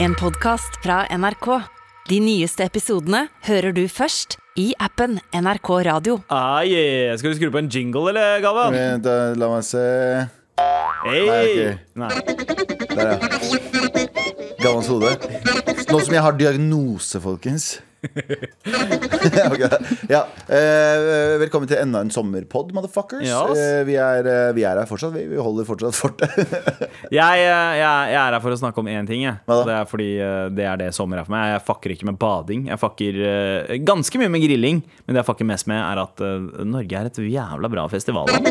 En podcast fra NRK. De nyeste episodene hører du først i appen NRK Radio. Ah, yeah. Skal du skru på en jingle, eller, Galvan? Vent, da, la meg se Hey. Nei, ok. Nei. Der, ja. Gammels hode. Nå som jeg har diagnose, folkens. Ok, ja. eh, velkommen til enda en sommerpod, motherfuckers. Ja, ass. Eh, vi, er, eh, vi er her fortsatt, vi. Vi holder fortsatt fortet. Jeg, eh, jeg, jeg er her for å snakke om én ting. Jeg. Hva da? Det er fordi eh, det er det sommer er for meg. Jeg fucker ikke med bading. Jeg fucker eh, ganske mye med grilling. Men det jeg fucker mest med, er at eh, Norge er et jævla bra festivalland.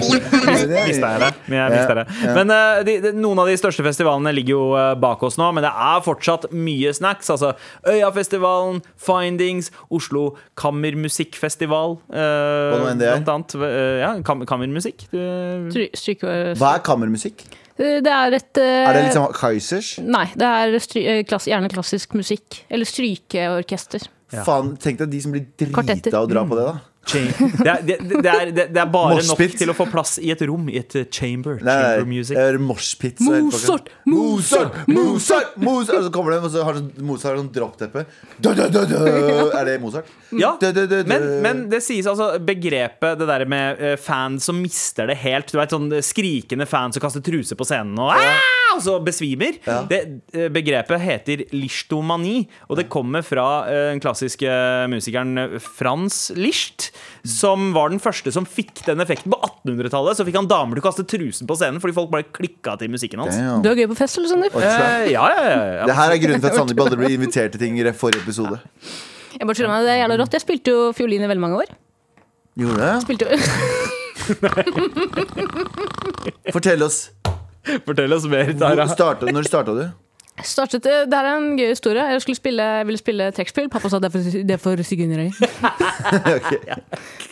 Mista jeg det? Men jeg mista det. Men eh, de, de, noen av de største festivalene ligger jo eh, bak oss nå, men det er fortsatt mye snacks. Altså Øyafestivalen, Findings, Oslo Kammermusikkfestival. eh, Hva nå enn det er. Blant annet. eh, ja, kam kammermusikk. Du- Stry- stryke- Hva er kammermusikk? Det er et eh, Er det litt sånn Kaizers? Nei, det er stry eh, klass, gjerne klassisk musikk. Eller strykeorkester. Faen, tenk deg de som blir Kvartetter. drita av å dra på det, da. Det er, det, det, det er, det, det er bare nok Moshpit. til å få plass i et rom, i et eh, chamber. Nei, eh, chamber nei, jeg music. hører moshpit. så er det Mozart, folk- Mozart, Mozart, Mozart! Og så kommer de, og så har sånn, Mozart har sånn droppteppe. Da, da, da, da. Er det Mozart? Mm. Mm. Ja, Da, da, da, da. men, men det sies altså begrepet det der med eh, fans som mister det helt. Du vet, sånn Skrikende fans som kaster truse på scenen og, «Ah!» og så besvimer. Det eh, begrepet heter lichtomani, og det kommer fra eh, den klassiske musikeren eh, Frans Lischt, som var den første som fikk den effekten. På 1800-tallet så fikk han damer til å kaste trusen på scenen fordi folk bare klikka til musikken hans. Damn. Du er gøy på fest, eller, Sander? Eh, ja, ja, ja, ja. Det her er grunnen til at Sandeep aldri blir invitert til ting i forrige episode. Jeg bare tuller med deg, det er jævla rått. Jeg spilte jo fiolin i veldig mange år. Gjorde det? Spilte jo Fortell oss. Fortell oss mer, Hvor Tara. starta, når starta du? startet, eh, Det her er en gøy historie. Jeg, skulle spille, jeg ville spille trekkspill. Pappa sa det er for, det er for sigøynere.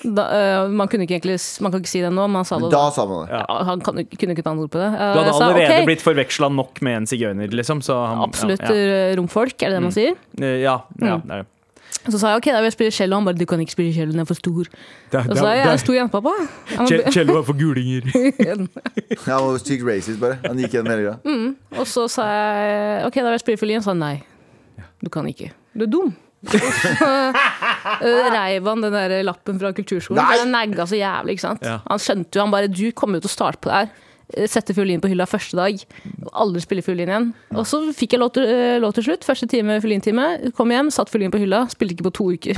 Da, eh, man kunne ikke egentlig s- Man kan ikke si det nå, men han sa det. Da sa man det. Ja, han kan, kunne ikke ta noe ord på det. Eh, Du hadde jeg sa, allerede ok, blitt forveksla nok med en sigøyner, liksom. Så han, Absolutt Ja, Mm. eh, romfolk, er det det man sier? ja. Eh, ja, ja Mm. det er det. Så sa jeg ok, da vil jeg spille cello. Han bare du kan ikke spille cello, den er for stor. Og så sa jeg jeg er en stor jente, pappa. Han ble- Cello er for gulinger. Han var sykt racist, bare. Han gikk gjennom hele Mm. greia. Og så sa jeg ok, da vil jeg spille fiolin. Han sa nei, du kan ikke. Du er dum. Og så eh, reiv han den der lappen fra kulturskolen. Nei! for Den negga så jævlig. ikke sant? Ja. Han skjønte jo, han bare Du kommer jo til å starte på det her. Eh, Sette fiolin på hylla første dag. Og Aldri spille fiolin igjen. Og så fikk jeg lov til, eh, lov til slutt. Første time fiolintime. Kom hjem, satt fiolin på hylla. Spilte ikke på to uker.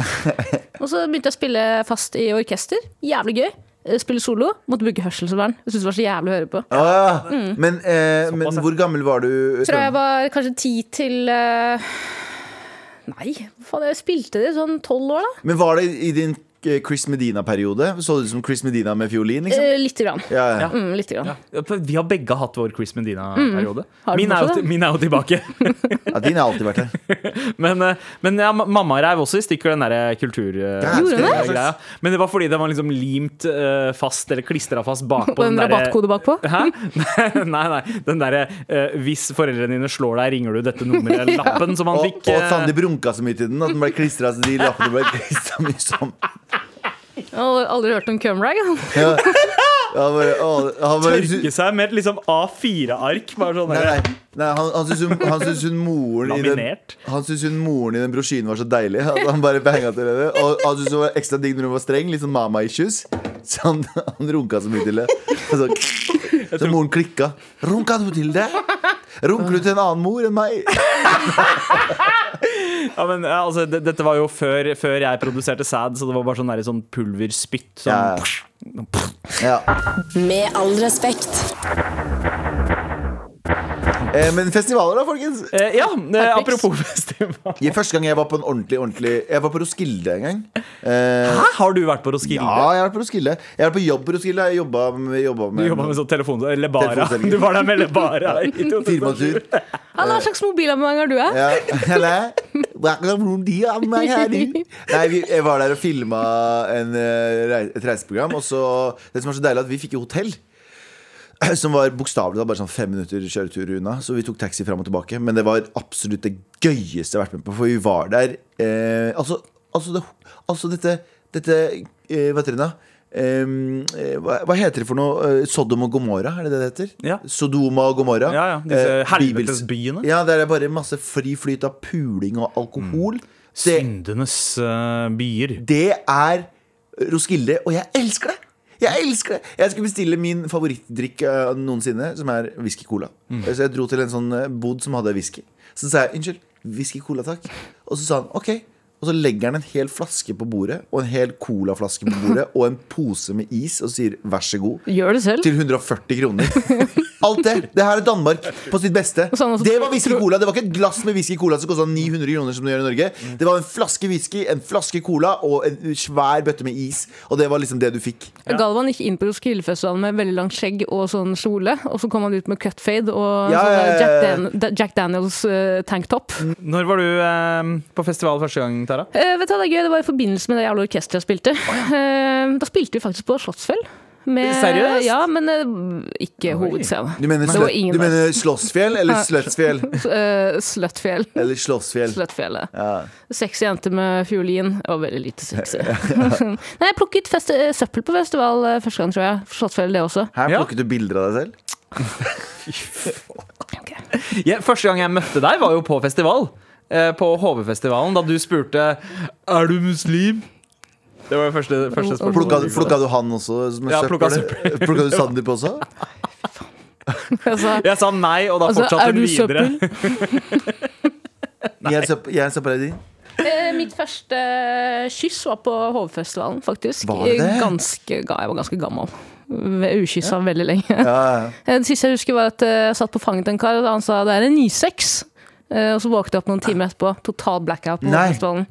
Og så begynte jeg å spille fast i orkester. Jævlig gøy. Eh, Spille solo. Måtte bruke hørselsvern. Jeg syntes det var så jævlig å høre på. Ah, men, eh, men hvor gammel var du? Fra Mm. jeg var kanskje ti til eh, Nei, hva faen, jeg spilte det i sånn tolv år, da. Men var det i din eh, Chris Medina-periode? Så det ut som Chris Medina med fiolin? liksom? Eh, lite grann. Ja, ja. Mm, lite grann. Vi har begge hatt vår Chris Medina-periode. Mm. Har du Min, er jo fortsatt til- det? min er jo tilbake. ja, din har alltid vært her. Men, eh, men ja, ma- mamma reiv også i stykker den eh, derre kulturgreia. Gjorde det? Men det var fordi den var liksom limt eh, fast, eller klistra fast bakpå Og en eh, derre- rabattkode bakpå. Hæ? Nei, nei. Den derre eh, 'hvis foreldrene dine slår deg, ringer du dette nummeret'-lappen som han Og, fikk. og eh, Sandeep runka så mye til den at den ble klistra så de lappene ble klistra mye sammen. Jeg har aldri hørt om cumrag. Ja. Han bare, å, han bare eh, Tørke seg med et liksom A4-ark. Bare sånn Nei, der. nei, nei han, han syns hun, han syns hun moren i den, Laminert. Han syns hun moren i den brosjyren var så deilig at han bare banga til henne. Og han syntes hun var ekstra digg når hun var streng, litt sånn mama issues. Så han, han runka så mye til det. Og Så, så moren klikka. Runka du til det? Runker du til en annen mor enn meg? Ja, men, ja, altså, det, dette var jo før, før jeg produserte sæd, så det var bare sånn, der, sånn pulverspytt. Sånn, Ja. Ja. Med all respekt. Eh, men festivaler, da, folkens. Eh, ja eh, Harpiks. apropos festival. Ja, Første gang jeg var på en ordentlig, ordentlig Jeg var på Roskilde en gang. Eh, Hæ? Har du vært på Roskilde? ja, jeg har vært på Roskilde. Jeg har vært på jobb på Roskilde. Jeg jobba med, jobba Du med jobba med sånn telefon... Lebara. Telefonselger. Du var der med Lebara. i 2007. firmatur. Ja, hva slags mobilabonnement har du? eh? Ja, eller? Hva kan noen de av meg her, de? Nei, vi, jeg var der og filma en, eh, rei- et reiseprogram. Og så, det som var så deilig, at vi fikk jo hotell. Som var bokstavelig talt bare sånn fem minutter kjøretur unna. Så vi tok taxi fram og tilbake. Men det var absolutt det gøyeste jeg har vært med på, for vi var der eh, Altså, altså, det, altså dette, dette eh, Hva heter det da? ehm, eh, hva, hva heter det for noe? Eh, Sodom og Gomorra, er det det det heter? Ja. Sodoma og Gomorra. Ja, ja, disse Eh, helvetes bibels- byene. Ja, der er bare masse fri flyt av puling og alkohol. Det, Syndenes eh, byer. det er Roskilde, og jeg elsker det! Jeg elsker det! Jeg skulle bestille min favorittdrikk eh, noensinne, som er whisky cola. Så jeg dro til en sånn eh, bod som hadde whisky. Så sa jeg 'unnskyld, whisky cola, takk'. Og så sa han 'ok'. Og så legger han en hel flaske på bordet, og en hel colaflaske på bordet, og en pose med is, og sier 'vær så god'. Gjør det selv. Til 140 kroner. Alt det. Det her er Danmark på sitt beste. Og sånn også- Det var whisky cola. Det var ikke et glass med whisky cola som kosta 900 kroner, som det gjør i Norge. Det var en flaske whisky, en flaske cola og en svær bøtte med is. Og det var liksom det du fikk. Galvan gikk inn på Roskildefestivalen med veldig langt skjegg og sånn kjole, og så kom han ut med cutfade og Ja, sånn ja, ja, der Mm. ja. Jack, Dan Jack Daniels eh, tanktop. Når var du eh, på festival første gang, Tara? Eh, vet du, hva, det er gøy, det var i forbindelse med det jævla orkesteret jeg spilte. Eh, da spilte vi faktisk på Slottsfjell. Med, Seriøst? Ja, men eh, ikke hovedscene. Du mener, Det var slø, ingen du der. mener Slåssfjell eller Sløtsfjell? Eh, Sløttfjell. Eller Slåssfjell. Sløttfjellet. Ja. Sexy jente med fiolin. Det var veldig lite sexy. Nei, jeg plukket festi eh, søppel på festival eh, første gang, tror jeg. Slottsfjell, det også. Her Ja. plukket du bilder av deg selv? Ja, første gang jeg møtte deg, var jo på festival. Eh, på HV-festivalen, da du spurte Er du muslim. Det var det første, første spørsmålet. Plukka, plukka du han også? Med Ja, plukka søppel? Plukka du Sandeep også? Altså, Jeg sa nei, og da altså, fortsatte er hun du videre. søppel? Jeg er søpp- jeg er søpla di. Eh, Mitt første eh, kyss var på Hovefestivalen, faktisk. Var det det? Ganske, ga- jeg var ganske gammel. Ve- Ukyssa veldig lenge. Ja, ja. Eh, Det siste jeg husker, var at eh, jeg satt på fanget til en kar, og han sa det er en 9-6. Eh, Og så våknet jeg opp noen timer etterpå. Total blackout på Nei. Hovefestivalen.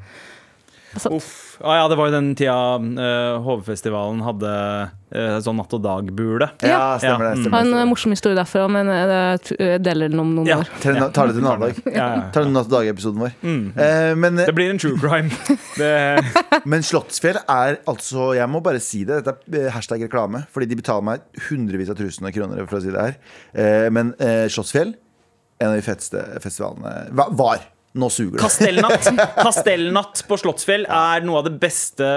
Uff. Ah, ja, det var jo den tida eh, HV-festivalen hadde eh, sånn natt og dag-bule. ja stemmer Ja, det. mm. Har Stemmer en eh, det. morsom historie derfra, men eh, jeg t- jeg deler den om noen Ja. år. Tar det- Tar det til en annen dag. Ja, ja. Tar det natt og dag-episoden vår. Mm. Eh, men, Det blir en true crime. Det, Men Slottsfjell er altså Jeg må bare si det. Dette er eh, hashtag reklame. Fordi de betaler meg hundrevis av tusen av kroner for å si det her. Eh, Men eh, Slottsfjell, en av de feteste festivalene va- Var. Nå suger det. Kastellnatt. Kastellnatt på Slottsfjell er noe av det beste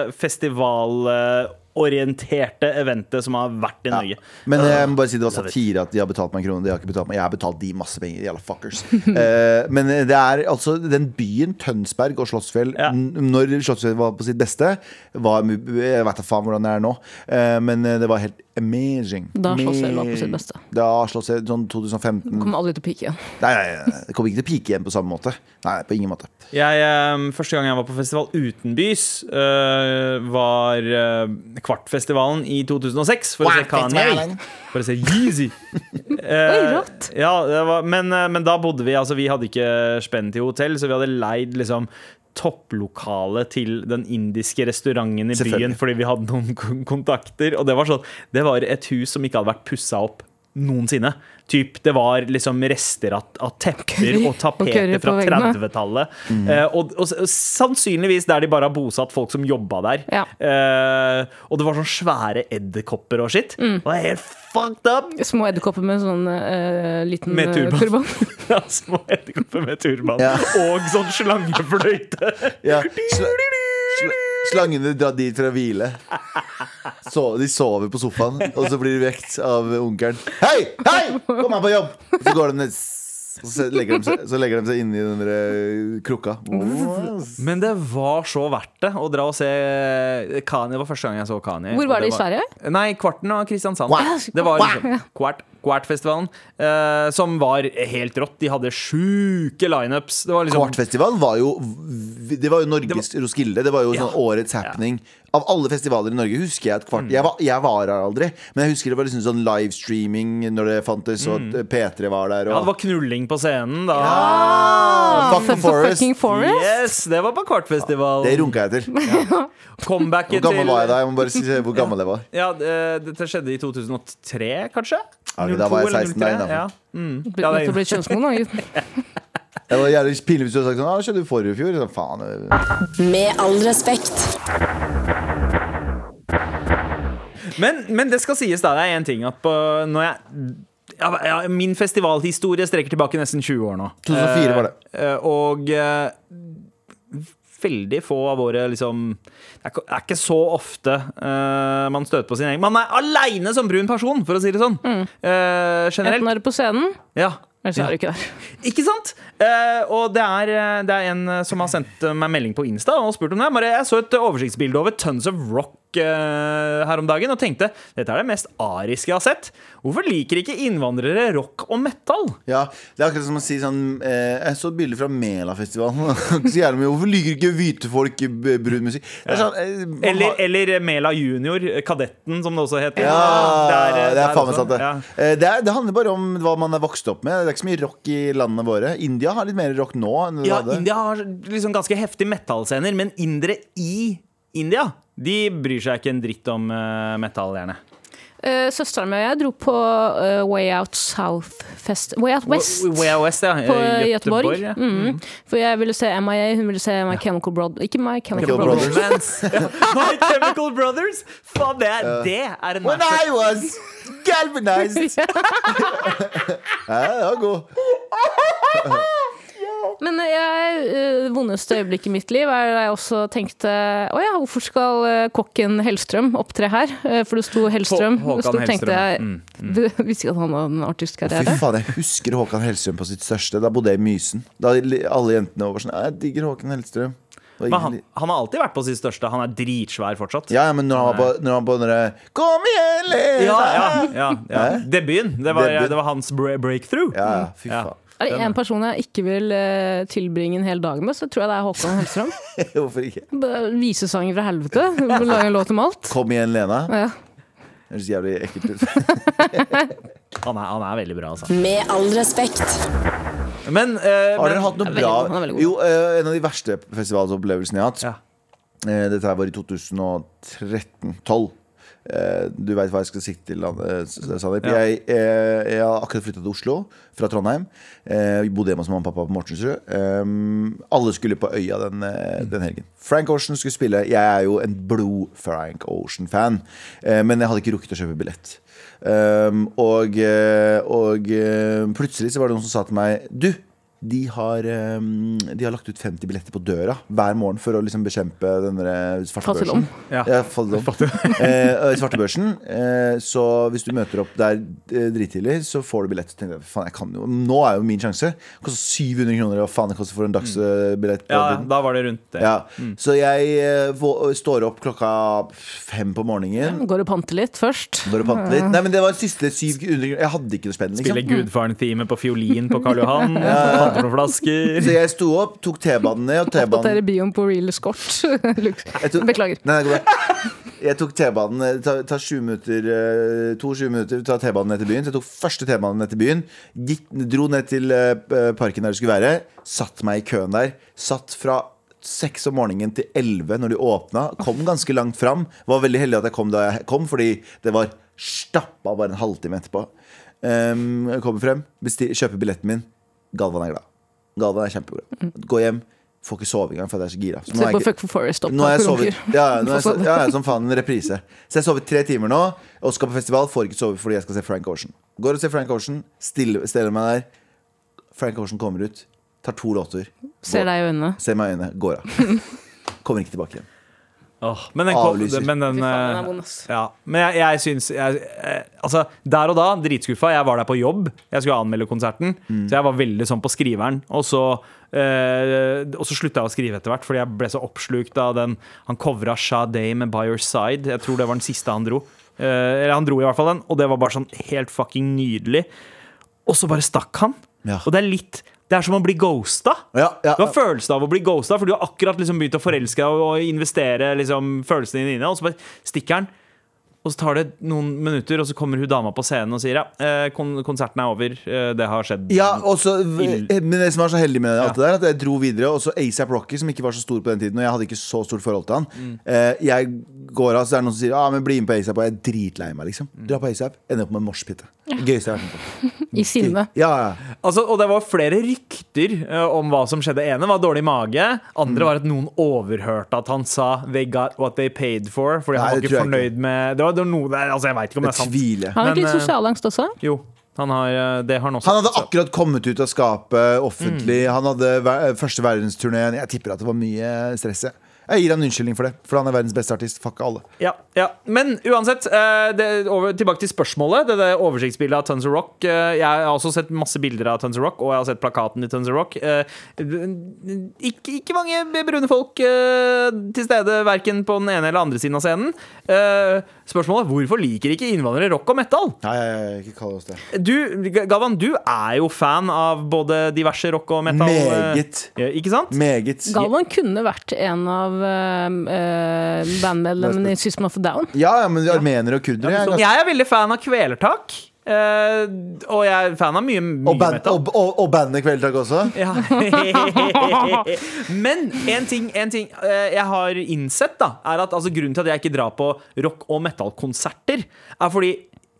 festivalorienterte eventet som har vært i Norge. Men jeg må bare si det var love it. satire at de har betalt meg en krone. De har ikke betalt meg. Jeg har betalt de masse penger, jævla fuckers. Eh, Men det er altså den byen Tønsberg og Slottsfjell Ja. n- Når Slottsfjell var på sitt beste, var mu- Jeg vet da faen hvordan det er nå, eh, men det var helt amazing. Da Slottsfjell var på sitt beste. Da Slottsfjell sånn 2015. Kommer aldri til å pike igjen. Nei, nei, nei, det kommer ikke til å pike igjen på samme måte. Nei, på ingen måte Jeg, eh, første gang jeg var på festival utenbys, eh, var eh, Kvartfestivalen i 2006. For å se Kanye. Kvartfestivalen. For å se Yeezy. Oi, Eh, rått. ja, det var, men, eh, men da bodde vi altså, Vi hadde ikke spenn til hotell, så vi hadde leid liksom topplokale til den indiske restauranten i byen Selvfølgelig. fordi vi hadde noen kon- kontakter. Og det var sånn Det var et hus som ikke hadde vært pussa opp noensinne. Typ, det var liksom rester av, av tepper Curry. og tapeter curry fra på Mm. 30 veggene. 30-tallet. Eh, og, og, s- sannsynligvis der de bare har bosatt folk som jobba der. Ja. Eh, og det var sånne svære edderkopper og shit. Mm. Og det er helt fucked up! Små edderkopper med sånn eh, liten Med eh, turban. turban. Ja, Små edderkopper med turban Ja. og sånn slangefløyte. ja, sl sl Slangene drar dit for å hvile. Så, de sover på sofaen, og så blir de vekt av onkelen. Hei! Hei! Kom her på jobb! Og så går de ned og så legger de seg, så legger de seg inni den der eh, krukka. Men det var så verdt det å dra og se Kani. Det var første gang jeg så Kani. Hvor var det i Sverige? Nei, Kvarten av Kristiansand. Kvart. Det var liksom Kvart, Kvartfestivalen, eh, som var helt rått. De hadde sjuke lineups. Det var liksom Kvartfestivalen var jo v- Det var jo Norges Roskilde. Det var jo Ja. sånn årets happening. Av alle festivaler i Norge husker jeg at kvart jeg, var, jeg var her aldri, men jeg husker det var liksom sånn livestreaming når det fantes, og at eh, P3 var der. Og, Ja, det var knulling på scenen da. Ah, Fuck For the Forest. fucking forest. Yes, det var på kvartfestival. Det runka jeg til. Comebacket Hvor gammel til var jeg da? Jeg må bare si hvor gammel jeg var. Ja, det- Dette skjedde i 2003, kanskje? Ja, ok, da var 02 jeg eller 16 da, 03, innenfor. ja. Mm. Ja, Blitt nødt det til er å bli kjønnsmoden, da, gutten. Det var jævlig pinlig hvis du hadde sagt sånn ah, 'Skjedde i forrige fjor?' Sånn, faen. eh. Med all respekt. Men, men det skal sies, da. Det er én ting at på, når jeg ja, ja, Min festivalhistorie strekker tilbake nesten 20 år nå. 2004 var det. Eh, eh, og eh, veldig få av våre liksom Det er ikke- det er ikke så ofte eh, man støter på sin egen Man er aleine som brun person, for å si det sånn. Eh, Enten generelt. er du på scenen, Ja. eller så Ja. er du ikke der. Ikke sant? Eh, og det er, eh, det er en eh, som har sendt eh, meg melding på Insta og spurt om det. Bare, jeg så et eh, oversiktsbilde over Tons of Rock eh, her om dagen og tenkte dette er det mest ariske jeg har sett. Hvorfor liker ikke innvandrere rock og metal? Ja, Det er akkurat som å si sånn eh, Jeg så et bilde fra Melafestivalen. Så gjerne med, Hvorfor liker ikke hvite folk b- brun musikk? Det er sånn, eh, man Eller, har- eller Mela Junior, eh, Kadetten, som det også heter. ja, Der, eh, det er der faen også. meg sant, det. Ja. Eh, Det, er, det handler bare om hva man er vokst opp med. Det er ikke så mye rock i landene våre. India har litt mer rock nå enn det Ja, hadde. India har liksom ganske heftige metallscener, men indere i India de bryr seg ikke en dritt om uh, metall, gjerne. Uh, Søsteren min og jeg dro på eh, Way Out South-fest Way Out West. W- WOS, ja. Eh, på Göteborg. ja. Mm. For jeg ville se MIA, hun ville se My Chemical Broad... Ikke My Chemical Chemical Brothers. Brothers. Romance. Ja. My Chemical Brothers! Faen, det er, det er en When I was galvanized! Ja, det var god. Men jeg, eh, vondeste øyeblikket i mitt liv er da jeg også tenkte Å ja, hvorfor skal eh, kokken Hellstrøm opptre her? Eh, For det sto Hellstrøm. Hå- Håkan og så Hellstrøm, tenkte jeg mm, Du visste ikke at han hadde en Fy artistkarriere? faen, jeg husker Håkan Hellstrøm på sitt største. Da bodde jeg i Mysen. Da li- alle jentene var sånn Jeg digger Håkan Hellstrøm. Og Men ingen han, li- han har alltid vært på sitt største. Han er dritsvær fortsatt. Ja, ja, men når han var på, når han var på den derre Kom igjen, Lena! ja, ja, ja, ja. Hæ? Debuten. Det var, Debut. det var hans bre- breakthrough. Ja, ja, fy Ja. faen. Er det én person jeg ikke vil eh, tilbringe en hel dag med, så tror jeg det er Håkan Hellstrøm. Hvorfor ikke? Bare Visesanger fra helvete. Lage en låt om alt. Kom igjen, Lena. Ja. Det høres jævlig ekkelt ut. Han, er, han er veldig bra, altså. Med all respekt. Men, eh, Har dere men hatt noe Han er veldig bra god, han er veldig god. Jo, eh, en av de verste festivalopplevelsene jeg har hatt, ja. eh, dette her var i 2013-12. Eh, Du veit hva jeg skal sikte til, eh, Sandeep. Ja. Jeg, eh, jeg har akkurat flytta til Oslo fra Trondheim. Eh, Bodde hjemme hos mamma og pappa på Mortensrud. Um, Alle skulle på Øya den, Mm. eh, den helgen. Frank Ocean skulle spille. Jeg er jo en blod-Frank Ocean-fan, eh, men jeg hadde ikke rukket å kjøpe billett. Um, og eh, og eh, plutselig så var det noen som sa til meg Du, de har, eh, de har lagt ut 50 billetter på døra hver morgen for å liksom bekjempe denne svartebørsen. Fattigdom. Ja. Ja, fattigdom. eh, og svartebørsen. Eh, så hvis du møter opp der eh, drittidlig, så får du billett. Så tenkte jeg, faen, jeg kan jo, Nå er jo min sjanse. Det koster 700 kroner, eller hva faen det koster for en dagsbillett. ja, Mm. da var det rundt det. Ja. Så jeg eh, vå- står opp klokka fem på morgenen. Går og panter litt først. Går og panter litt. Nei, men det var siste 700 kroner. Jeg hadde ikke noe spenn. Liksom. Spille Gudfaren-teamet på fiolin på Karl Johan. Panter noen flasker. Så jeg sto opp, tok T-banen ned, og T-banen Oppdatere bioen på Real Escort. Lux. Jeg tok- Beklager. Nei, det går bra. Jeg tok T-banen eh, ta, ta 20 minutter, eh, To 20 minutter Ta T-banen ned til byen Så jeg tok første T-banen ned til byen gikk, Dro ned til eh, p- parken der det skulle være Satt meg i køen der Satt fra 6 om morgenen til 11 Når de åpnet Kom ganske langt fram Var veldig heldig at jeg kom da jeg kom Fordi det var stappa bare en halvtime etterpå um, Jeg kommer frem besti- Kjøper billetten min Galvan er glad Galvan er kjempeglad Gå hjem Får ikke sove engang For jeg er så gira Så nå Se er på jeg ikke- Fuck for Forest opp nå har jeg på sovet Ronkir. ja, nå har jeg, so- ja, ja, som faen en reprise. Så jeg har sovet tre timer nå og skal på festival. Får ikke sove fordi jeg skal se Frank Ocean. Går og ser Frank Ocean, stiller, stiller meg der. Frank Ocean kommer ut, tar to låter, Ser deg i øynene. ser meg i øynene, går av. Kommer ikke tilbake igjen. Åh, men den kom, Avlyser. men den, Fy faen, den er eh, vond, ass. ja. Men jeg, jeg syns jeg, eh, Altså, der og da, dritskuffa. Jeg var der på jobb. Jeg skulle anmelde konserten, så jeg var veldig sånn på skriveren. Og så, eh, og så slutta jeg å skrive etter hvert, fordi jeg ble så oppslukt av den Han covra Sade med By Your Side. Jeg tror det var den siste han dro. Eh, eller han dro i hvert fall den, og det var bare sånn helt fucking nydelig. Og så bare stakk han. Ja. Og det er litt Det er som å bli ghosta. Ja, ja, Du har følelsen av å bli ghosta, for du har akkurat liksom begynt å forelske deg og- og investere liksom følelsene dine inne, og så bare stikker han. Og så tar det noen minutter, og så kommer hun dama på scenen og sier ja, eh, kon konserten er over. eh, Det har skjedd. Ja, og så- Ild. men det som var så heldig med alt det der, at jeg dro videre. Og så ASAP Rocky, som ikke var så stor på den tiden, og jeg hadde ikke så stort forhold til han. Eh, jeg går av, så er det noen som sier ah, men 'bli med på ASAP', og jeg er dritlei meg, liksom. Dra på ASAP, ender opp med moshpite. Gøyeste jeg har vært med på. I sinne. Ja, ja. Altså, og det var flere rykter eh, om hva som skjedde. ene var dårlig mage. Andre var at noen overhørte at han sa 'they got what they paid for'. Fordi Nei, han var det ikke tror jeg fornøyd med det var, det var noe der, altså Jeg veit ikke om det er Jeg sant. tviler. Har han Men, ikke litt eh, sosialangst også? Jo. Han har, eh, det har han også. Han hadde akkurat kommet ut av skapet offentlig. Han hadde ver- første verdensturneen. Jeg tipper at det var mye stress. jeg. Jeg gir han unnskyldning for det, for han er verdens beste artist. Fuck alle. Ja, ja. Men uansett, eh, det, over, tilbake til spørsmålet. Det, der oversiktsbildet av Tons of Rock. eh, Jeg har også sett masse bilder av Tons of Rock, og jeg har sett plakaten i Tons of Rock. Eh, Ikke, ikke mange brune folk eh, til stede, verken på den ene eller andre siden av scenen. Eh, Spørsmålet hvorfor liker ikke innvandrere rock og metal? Nei, jeg, ikke kall oss det. Du, G- Galvan, du er jo fan av både diverse rock og metal. eh, Meget. ja, Ikke sant? Meget. Galvan kunne vært en av øhm, øh, bandmedlemmene i System of a Down. Ja, ja, men armenere og kurdere. er Så ganske- Jeg er veldig fan av kvelertak. eh, og jeg er fan av mye, mye Og, band, metal. og, og, og bandet Kveldtak også. Ja. Men en ting, en ting eh, jeg har innsett, da, er at altså, grunnen til at jeg ikke drar på rock- og metal-konserter, er fordi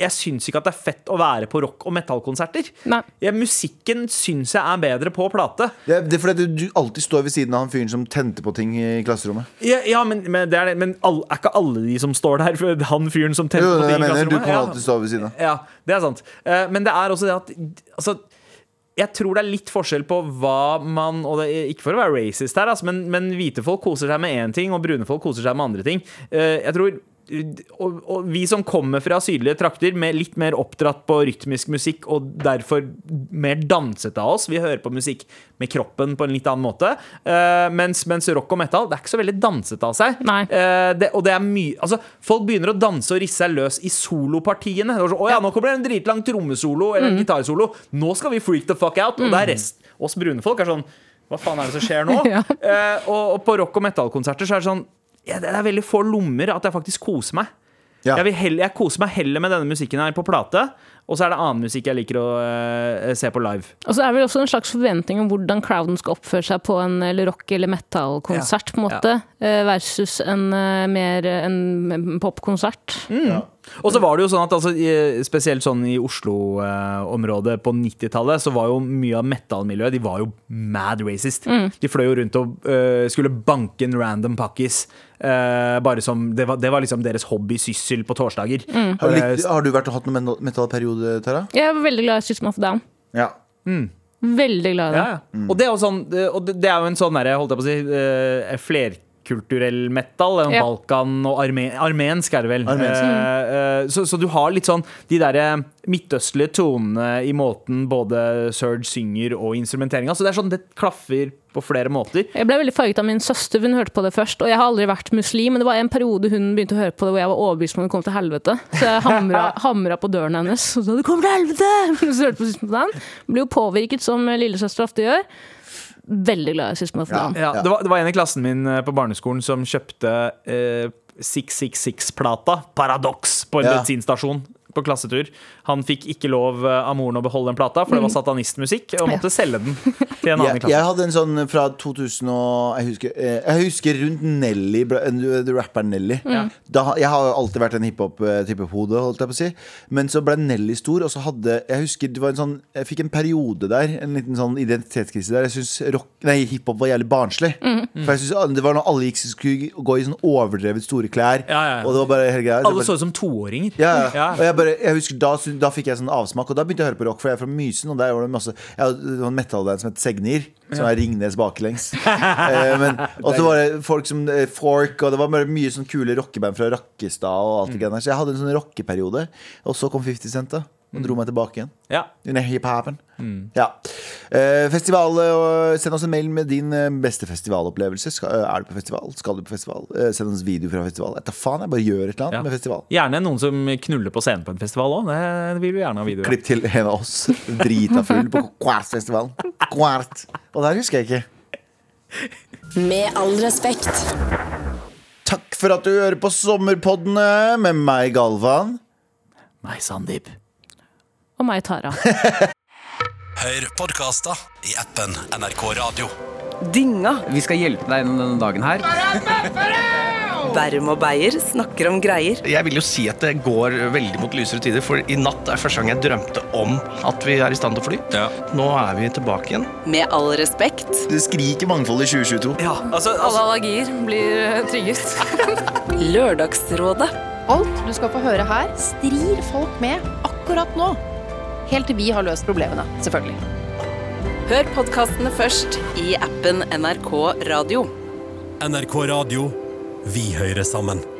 jeg syns ikke at det er fett å være på rock- og metal-konserter. Nei. Ja, musikken syns jeg er bedre på plate. Det er, det er fordi at du, du alltid står ved siden av han fyren som tente på ting i klasserommet. Ja, ja men, men, det er, det. men all, er ikke alle de som står der, for han fyren som Jo, tenner på det er det ting jeg i mener, du klasserommet? kan Ja. alltid stå ved siden av. Ja, det er sant. Eh, Men det er også det at altså, jeg tror det er litt forskjell på hva man og det, er Ikke for å være racist her, altså, men, men hvite folk koser seg med én ting, og brune folk koser seg med andre ting. Eh, Jeg tror og, og vi som kommer fra sydlige trakter, med litt mer oppdratt på rytmisk musikk og derfor mer dansete av oss, vi hører på musikk med kroppen på en litt annen måte. Eh, mens, mens rock og metal, det er ikke så veldig dansete av seg. Nei. Eh, det, og det er mye Altså, folk begynner å danse og risse seg løs i solopartiene. Det var sånn, Å ja, nå kommer det en dritlang trommesolo eller en gitarsolo. Nå skal vi freak the fuck out. Og det er rest oss brune folk er sånn Hva faen er det som skjer nå? Ja. Eh, og, og på rock- og metallkonserter så er det sånn ja, Det er veldig få lommer at jeg faktisk koser meg. Ja. Jeg, vil heller, jeg koser meg heller med denne musikken her på plate, og så er det annen musikk jeg liker å eh, se på live. Og så er det vel også en slags forventning om hvordan crowden skal oppføre seg på en eller rock- eller metal-konsert, på en måte, eh, versus en eh, mer eh, en popkonsert. Mm. Og så var det jo sånn at altså, i- Spesielt sånn i Oslo-området på 90-tallet, så var jo mye av metal-miljøet De var jo mad racist. De fløy jo rundt og øh, skulle banke en random pakkis. øh, bare som det var, det var liksom deres hobbysyssel på torsdager. Har du, likt, har du vært og hatt noen mental- metallperiode, Tara? Jeg er veldig glad i System of a Down. Ja. Veldig glad i det. Ja, ja. Og, det er jo sånn, og det det er jo en sånn derre, holdt jeg på å si, eh, flerkulturell metal. en Ja. Balkan og arme, armensk, er det vel. Armensk. Eh, eh, så, så du har litt sånn de derre midtøstlige tonene i måten både Serge synger og instrumenteringa. Så det er sånn, det klaffer på flere måter. Jeg ble veldig farget av min søster, hun hørte på det først. Og jeg har aldri vært muslim, men det var en periode hun begynte å høre på det hvor jeg var overbevist om at det kom til helvete. Så jeg hamra, hamra på døren hennes og sa 'det kommer til helvete'! Så hørte på System of a Down. Ble jo påvirket, som lillesøster ofte gjør. Veldig glad i System of a Down. Ja, det, var, det var en i klassen min eh, på barneskolen som kjøpte eh, 666-plata, Paradox, på en Ja. bensinstasjon på klassetur. Han fikk ikke lov eh, av moren å beholde den plata, for det var satanistmusikk, og måtte selge den til en annen i Jeg, jeg klassen. hadde en sånn fra 2000 og Jeg husker, eh, jeg husker rundt Nelly, bra- eh, du- du rapperen Nelly. Da, ha- jeg har alltid vært en hiphop-hode, holdt jeg på å si. Men så ble Nelly stor, og så hadde Jeg husker det var en sånn Jeg fikk en periode der, en liten sånn identitetskrise der. Jeg syns rock- nei, hiphop var jævlig barnslig. For jeg synes, Det var når alle gikk skulle gå i sånn overdrevet store klær, Ja, ja, ja. og det var bare hele greia. Alle bare- så ut som toåringer. Ja, ja. Ja. Og jeg bare, jeg husker da, syn- da fikk jeg sånn avsmak, og da begynte jeg å høre på rock, for jeg er fra Mysen, og der var det masse jeg, hadde- Det var en metalband som het Segnir, som er Ringnes baklengs. eh, men, og så var det folk som eh, Fork, og det var bare mye sånn kule rockeband fra Rakkestad og alt det greiene der. Så jeg hadde en sånn rockeperiode, og så kom 50 Cent, da. Og dro meg tilbake igjen. Ja. In a hip happen. Ja. Eh, festival, eh, send oss en mail med din eh, beste festivalopplevelse. Skal, eh, er du på festival? Skal du på festival? Eh, send oss video fra festival. Jeg tar faen, jeg bare gjør et eller annet Ja. med festival. Gjerne noen som knuller på scenen på en festival òg. Det vil vi gjerne ha video av. Klipp til en av oss drita full på Quart-festivalen. Quart. Og der husker jeg ikke. Med all respekt. Takk for at du hører på Sommerpoddene med meg, Galvan. Nei, Sandeep. Og meg, Tara. Hør podkaster i appen NRK Radio. Dynga. Vi skal hjelpe deg gjennom denne dagen her. Bærum og Beier snakker om greier. Jeg vil jo si at det går veldig mot lysere tider, for i natt er første gang jeg drømte om at vi er i stand til å fly. Nå er vi tilbake igjen. Med all respekt. Det skriker mangfold i 2022. Alle allergier blir eh, trygget. Lørdagsrådet. Alt du skal få høre her, strir folk med akkurat nå. Helt til vi har løst problemene, selvfølgelig. Hør podkastene først i appen NRK Radio. NRK Radio. Vi hører sammen.